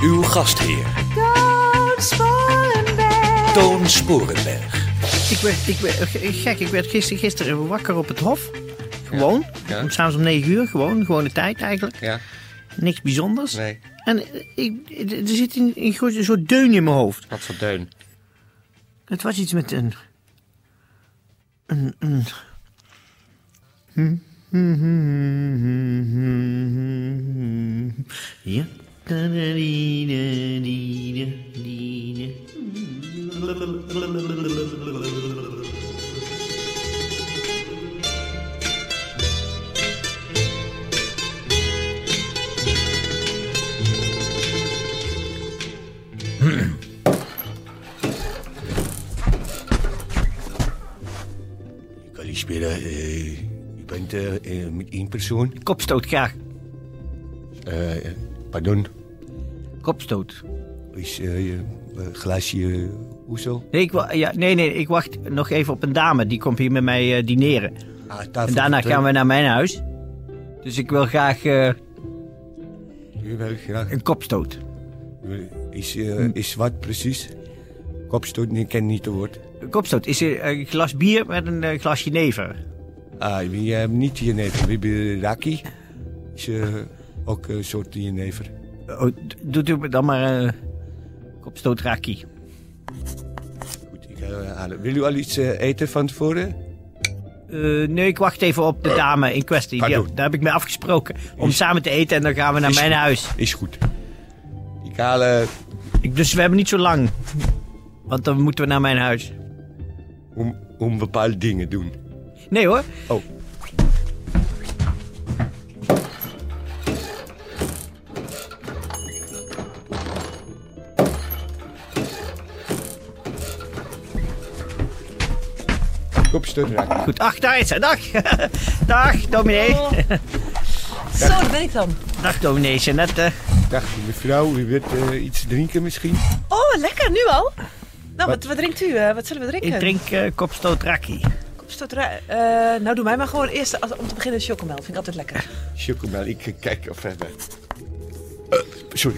Uw gastheer, Toon Sporenberg. Toon Sporenberg. Ik werd, ik werd eh, gek, ik werd gister, gisteren wakker op het hof. Gewoon. Ja. Om S'avonds om negen uur, gewoon. Gewone tijd eigenlijk. Ja, Niks bijzonders. nee. En eh, ik, er zit een, een groot- een soort deun in mijn hoofd. Wat voor deun. Het was iets met een. Een. een... Ja. Kalispera, eh, je bent eh, eh, met één persoon. Kopstoot graag. Eh, eh, pardon, Kopstoot. is eh, je eh, glaasje hoezo? Nee, ik, wa- ja, nee, nee, ik wacht nog even op een dame. Die komt hier met mij eh, dineren. Ah, En daarna gaan we naar mijn huis. Dus ik wil graag eh, Je wil graag. een kopstoot. Is, eh, Mm. is wat precies? Kopstoot, nee, ik ken niet het woord. Een kopstoot is eh, een glas bier met een eh, glas jenever. Ah, we hebben niet jenever, we hebben raki. Is eh, ook een soort jenever. Oh, d- doet u me dan maar eh kopstoot raki. Goed, ik ga eh, halen. Wil u al iets eh, eten van tevoren? Eh, nee, ik wacht even op de dame in kwestie. Ja, Pardon. daar heb ik mee afgesproken. Om samen te eten en dan gaan we naar mijn huis. Is goed. Ik haal eh, Ik, dus we hebben niet zo lang. Want dan moeten we naar mijn huis. om, om bepaalde dingen doen. Nee hoor. Oh. Kopstoot raak. Goed. Ach, daar is ze. Dag. Dag, dominee. Zo, dat ben ik dan. Dag, dominee Jeannette. Dag mevrouw, u wilt eh, iets drinken misschien? Oh, wat lekker, nu al? Nou, wat, wat drinkt u? eh? wat zullen we drinken? Ik drink eh, kopstoot raki. Kopstoot ra- eh, nou, doe mij maar gewoon eerst als, om te beginnen chocomel. Vind ik altijd lekker. Chocomel, ik eh, kijk of verder. Eh, sorry.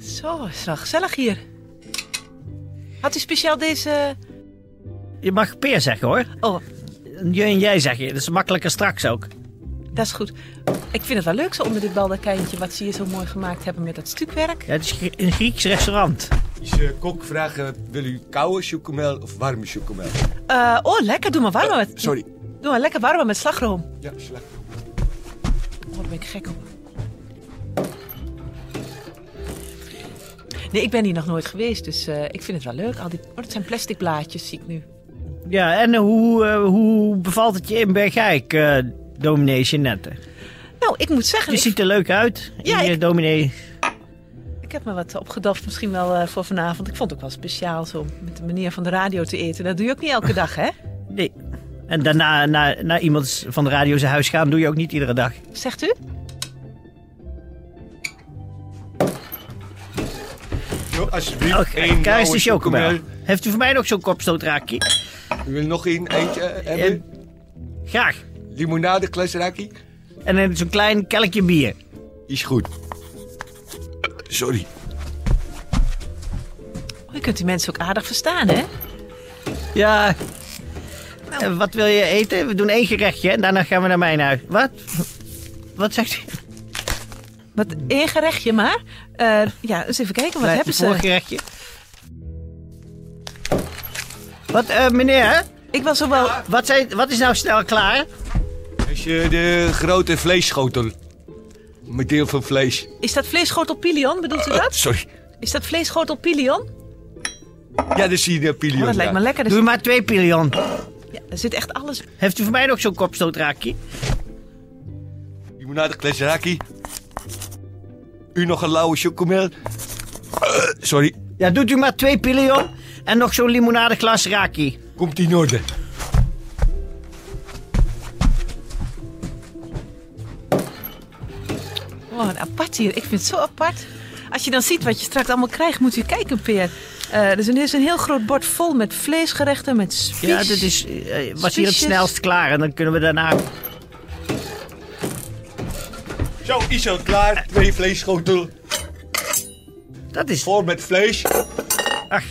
Zo, is wel gezellig hier. Had u speciaal deze... Je mag peer zeggen hoor. Oh, Je en jij zeg je. Dat is makkelijker straks ook. dat is goed. Ik vind het wel leuk zo onder dit baldakijntje wat ze hier zo mooi gemaakt hebben met dat stukwerk. Ja, het is Grie- een Grieks restaurant. Is eh, kok vragen, wil u koude chocomel of warme chocomel? Eh, oh, lekker. Doe maar warmer. met- Sorry. Doe maar lekker warmer met slagroom. Ja, slag. Oh, daar ben ik gek op. Nee, ik ben hier nog nooit geweest, dus eh, ik vind het wel leuk. Al die... Oh, dat zijn plastic blaadjes, zie ik nu. Ja, en hoe, eh, hoe bevalt het je in Bergijk, eh dominee Jeannette? Nou, ik moet zeggen, Je ik, ziet er leuk uit. Ja, je ik- dominee. ik heb me wat opgedoft misschien wel eh, voor vanavond. Ik vond het ook wel speciaal zo met de manier van de radio te eten. Dat doe je ook niet elke dag, hè? Nee. En daarna naar, naar iemand van de radio zijn huis gaan doe je ook niet iedere dag. Zegt u? Jo, alsjeblieft. Oh, één Kijk eens blauwe de chocomel. Heeft u voor mij nog zo'n kopstootraakje? U wil nog één eentje eh, hebben? Graag. Limonade, glas raki? En dan zo'n klein kelkje bier. Is goed. Sorry. Oh, je kunt die mensen ook aardig verstaan, hè? Ja. Eh, wat wil je eten? We doen één gerechtje en daarna gaan we naar mijn huis. Wat? Wat zegt u? Wat één gerechtje maar. Eh, ja, eens even kijken, wat Nee, hebben het ze? voorgerechtje. Wat, eh, meneer? Ik was zo wel... Wat, zijn, wat is nou snel klaar? Is je de grote vleesschotel? Met deel van vlees. Is dat vleesschotel Pilion, bedoelt u Eh, dat? sorry. Is dat vleesschotel Pilion? Ja, dat zie je eh, Pilion. Maar Oh, dat lijkt ja. me lekker. Er Doe zit, maar twee piljon. ja, er zit echt alles. Heeft u voor mij nog zo'n kopstoot, Raki? Je moet naar de klesje raki. U nog een lauwe chocomel. Eh, sorry, Ja, doet u maar twee piljon en nog zo'n limonadeglas Raki. komt in orde. Wow, een apart hier. Ik vind het zo apart. Als je dan ziet wat je straks allemaal krijgt, moet u kijken, Peer. Eh, er is een- er is een heel groot bord vol met vleesgerechten, met spies. Ja, dat is, eh, was hier het Spiesjes. snelst klaar en dan kunnen we daarna... Zo, is al klaar. Twee vleesschotel. Dat is... Voor met vlees.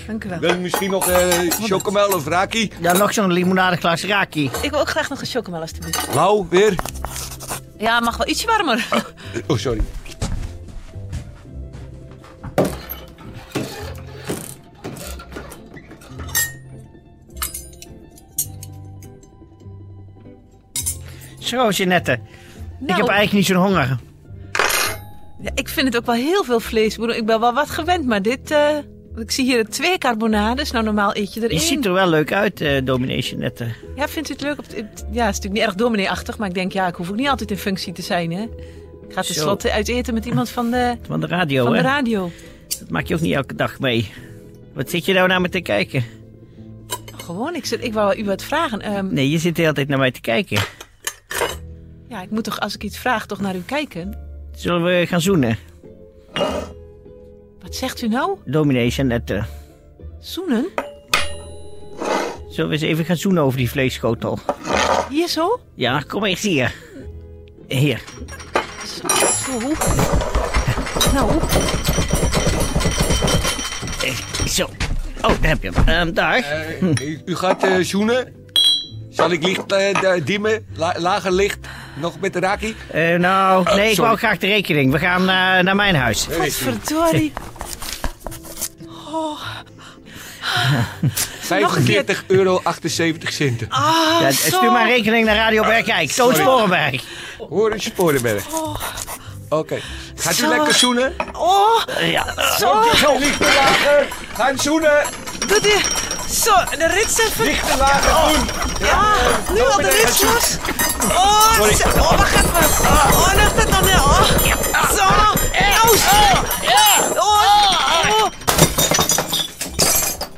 Dank u wel. Wil je misschien nog eh chocomel of raki? Ja, nog zo'n limonadeglas Raki. Ik wil ook graag nog een chocomel, alstublieft. Lauw, weer. Ja, mag wel ietsje warmer. Oh, sorry. Zo, Jeanette. Ik Nou, heb eigenlijk niet zo'n honger. ja, ik vind het ook wel heel veel vlees. Ik bedoel, Ik ben wel wat gewend, maar dit... eh, ik zie hier twee carbonades. Nou, normaal eet je er Je één. ziet er wel leuk uit, eh dominee Jeanette. Ja, vindt u het leuk? Op het- ja, het is natuurlijk niet erg domineeachtig, maar ik denk, ja, ik hoef ook niet altijd in functie te zijn, hè. Ik ga tenslotte uit eten met iemand van de, Van de radio, van de hè? radio. Dat maak je ook niet elke dag mee. Wat zit je nou naar me te kijken? Gewoon, ik, zit, ik wou u wat vragen. Ehm, Nee, je zit de hele tijd naar mij te kijken. Ja, ik moet toch, als ik iets vraag, toch naar u kijken? Zullen we gaan zoenen? Wat zegt u nou? Dominee Jeanette. Zoenen? Zullen we eens even gaan zoenen over die vleesschotel? Hier zo? Ja, kom eens hier. Hier. Zo. zo. Nou, Eh, Zo. Oh, daar heb je hem. Ehm, daar. Eh, u gaat eh, zoenen. Zal ik licht eh, da- dimmen? La- lager licht? Nog met de raki? Eh, nou, nee, ik sorry. wou graag de rekening. We gaan eh, naar mijn huis. godverdorie. 45 euro 78 centen. Ah, Ja, zo. stuur maar rekening naar Radio Bergijk. Toon Sporenberg. Hoor een sporenberg. Oké. Gaat u Oh. Zo. lekker zoenen? Oh, Eh, Ja. zo. Zo. Lichten lager. Gaan zoenen. Doe die. Zo, de rits even. Lichten Oh. lager doen. Ah, nu al de meneer, rits gaat los. Oh, Sorry. zo. oh, wacht even. Oh, oh, nog dat dan. weer. Oh, zo. Oh, zo. Oh, oh.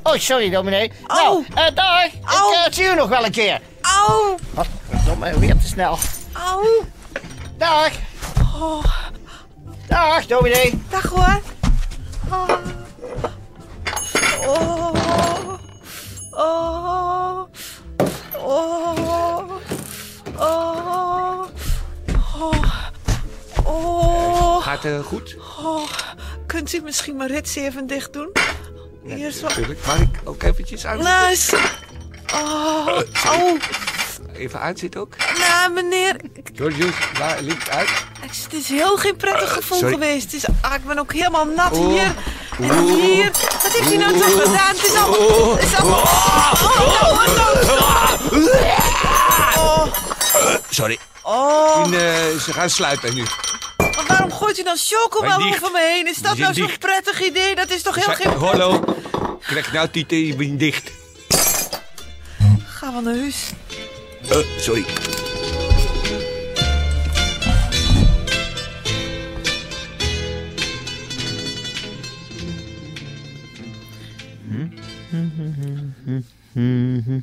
Oh, sorry, dominee. Au. Nou, eh, dag. Au. Ik eh, zie u nog wel een keer. Auw. Domme, weer te snel. Auw. Dag. Dag, dominee. Dag hoor. Oh. Oh. Oh. Oh. Oh. Oh. Oh. Gaat eh, goed? Oh. Kunt u misschien mijn rits even dicht doen? Hier zo. Tuurlijk. Mag ik ook eventjes aan? Nice. Oh. Oh. Even aanzitten ook. Nou, meneer. ik- Georgius, la- licht uit. Het is heel geen prettig gevoel sorry. geweest. Het is, ah, ik ben ook helemaal nat Oeh. hier. En Oeh. hier. Wat heeft u nou toch gedaan? Het is allemaal... Het is allemaal... Oh, oh, oh, Sorry. oh. En, eh, ze gaan sluiten nu. Maar waarom gooit u dan Maar chocomel dicht. over me heen? Is dat Die nou zit zo'n dicht. prettig idee? Dat is toch heel Zij- geen... Hallo. Krijg nou Tite, je bent dicht. Ga wel naar huis. Eh, sorry.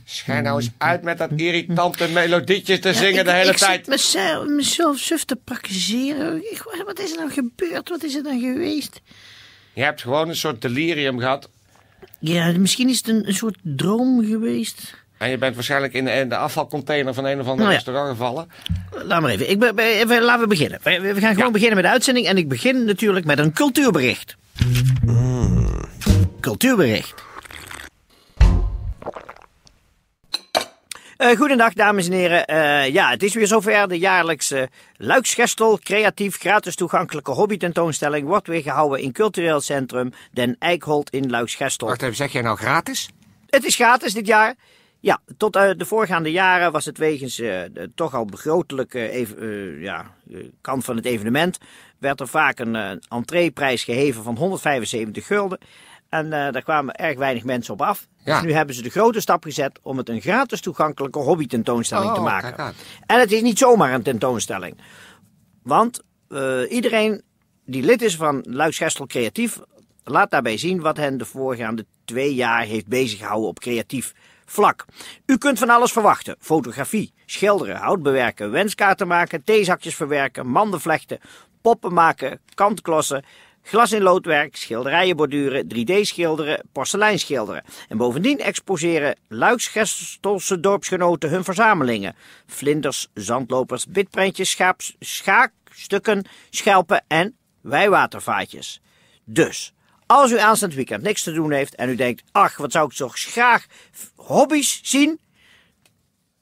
Schijn nou eens uit met dat irritante melodietje te zingen de hele tijd. mezelf, mezelf suf te praktiseren. wat is er nou gebeurd? Wat is er nou geweest? Je hebt gewoon een soort delirium gehad. Ja, misschien is het een, een soort droom geweest. En je bent waarschijnlijk in de, in de afvalcontainer van een of ander Nou ja. restaurant gevallen. Laat maar even. Ik ben, ben- even laten we beginnen. We, we gaan gewoon beginnen met de uitzending. En ik begin natuurlijk met een cultuurbericht. Cultuurbericht. Eh, goedendag, dames en heren. Eh, ja, het is weer zover. De jaarlijkse Luiksgestel creatief gratis toegankelijke hobbytentoonstelling wordt weer gehouden in cultureel centrum Den Eikholt in Luiksgestel. Wacht even, zeg jij nou gratis? Het is gratis dit jaar. Ja, tot eh, de voorgaande jaren was het wegens eh, de toch al begrotelijke even- eh, ja, eh, kant van het evenement. Werd er vaak een eh entreeprijs geheven van 175 gulden. Eh, En eh, daar kwamen erg weinig mensen op af. Dus Ja. Nu hebben ze de grote stap gezet om het een gratis toegankelijke hobby tentoonstelling Oh, te maken. kijk aan. En het is niet zomaar een tentoonstelling. Want eh, iedereen die lid is van Luik Gestel Creatief laat daarbij zien wat hen de voorgaande twee jaar heeft beziggehouden op creatief vlak. U kunt van alles verwachten: fotografie, schilderen, hout bewerken, wenskaarten maken, theezakjes verwerken, manden vlechten, poppen maken, kantklossen. Glas in loodwerk, schilderijen borduren, 3D schilderen, porselein schilderen. En bovendien exposeren Luiksgestelse dorpsgenoten hun verzamelingen. Vlinders, zandlopers, bitprentjes, schaaps, schaakstukken, schelpen en wijwatervaatjes. Dus, als u aanstaand weekend niks te doen heeft en u denkt... ach, wat zou ik toch graag f- hobby's zien?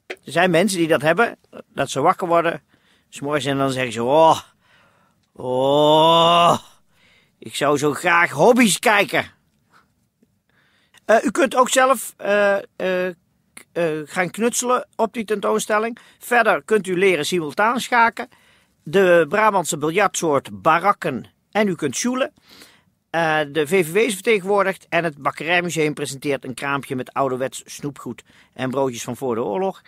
Er zijn mensen die dat hebben, dat ze wakker worden... 's morgens en dan zeggen ze... oh, oh, ik zou zo graag hobby's kijken. Eh, u kunt ook zelf eh, eh, k- eh, gaan knutselen op die tentoonstelling. Verder kunt u leren simultaan schaken. De Brabantse biljartsoort barakken. En u kunt sjoelen. Eh, de VVW is vertegenwoordigd en het Bakkerijmuseum presenteert een kraampje met ouderwets snoepgoed en broodjes van voor de oorlog,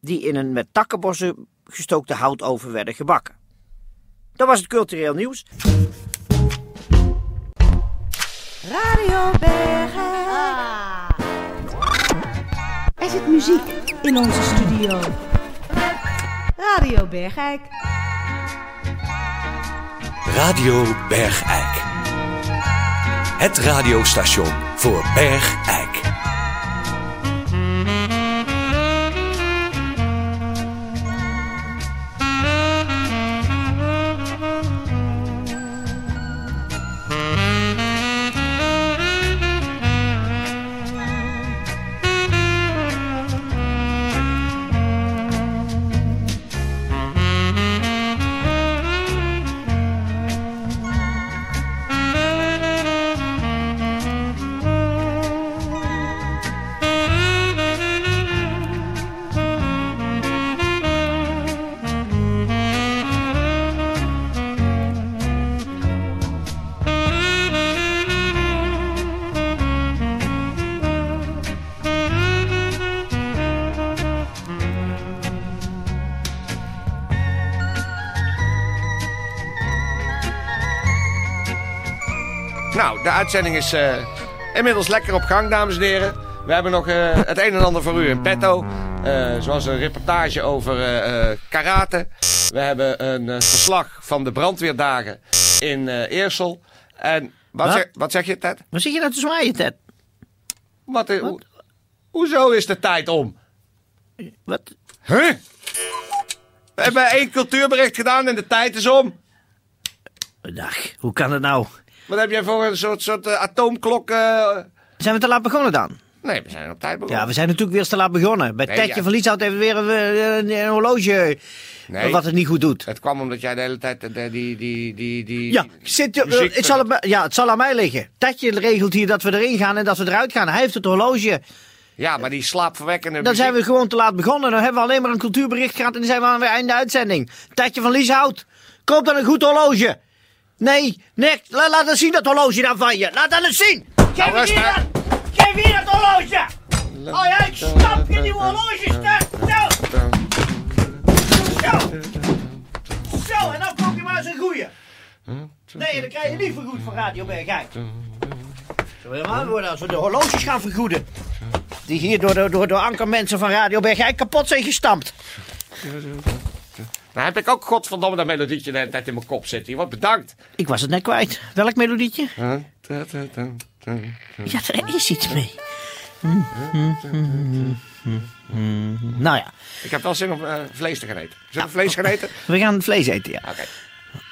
die in een met takkenbossen gestookte houtoven werden gebakken. Dat was het cultureel nieuws. Radio Bergen. Er zit muziek in onze studio. Radio Bergijk. Radio Bergijk. Het radiostation voor Bergijk. Nou, de uitzending is eh, inmiddels lekker op gang, dames en heren. We hebben nog eh, het een en ander voor u in petto. Eh, zoals een reportage over eh, eh, karate. We hebben een eh, verslag van de brandweerdagen in eh, Eersel. En wat, Wat? Zeg, wat zeg je, Ted? Maar zie je nou te zwaaien, Ted? Wat, eh, hoe- hoezo is de tijd om? Wat? Huh? We hebben één cultuurbericht gedaan en de tijd is om. Dag, hoe kan het nou? Wat heb jij voor een soort, soort eh, atoomklok? eh? Zijn we te laat begonnen dan? Nee, we zijn op tijd begonnen. Ja, we zijn natuurlijk weer te laat begonnen. Bij Nee, Tetje ja. van Lieshout heeft weer een, een- een horloge Nee. wat het niet goed doet. Het kwam omdat jij de hele tijd eh, de- die, die, die, die... Ja, zit, je- eh, muziek- het zal het, me- ja, het zal aan mij liggen. Tetje regelt hier dat we erin gaan en dat we eruit gaan. Hij heeft het horloge. Ja, maar die slaapverwekkende Dan zijn muziek- we gewoon te laat begonnen. Dan hebben we alleen maar een cultuurbericht gehad en dan zijn we aan het einde uitzending. Tetje van Lieshout, koop dan een goed horloge. Nee, niks. La- laat eens zien dat horloge dan van je. Laat dat eens zien. Geef rust, hier hè. dat, geef hier dat horloge. Oh ja, ik snap je nieuwe horloges. hè. Zo. Zo! Zo, en dan koop je maar eens een goeie. Nee, dan krijg je niet vergoed van Radio Bergijk. Zo helemaal worden als we de horloges gaan vergoeden. Die hier door, de- door, door ankermensen van Radio Bergijk kapot zijn gestampt. Dan Nou, heb ik ook godverdomme dat melodietje de hele tijd in mijn kop zitten. Je wordt bedankt. Ik was het net kwijt. Welk melodietje? Ja, er is iets mee. Nou ja, Ik heb wel zin om eh, vlees te gaan eten. Zullen we vlees gaan eten? we gaan vlees eten, ja. Oké.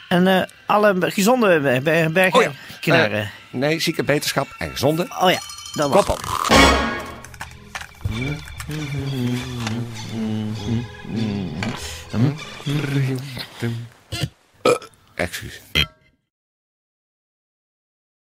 En eh, alle gezonde Ber- Ber- Oh ja. Bergijk-knarren. Eh, nee, zieke beterschap en gezonde Oh ja, dat was. koppel. Eh, Excuus.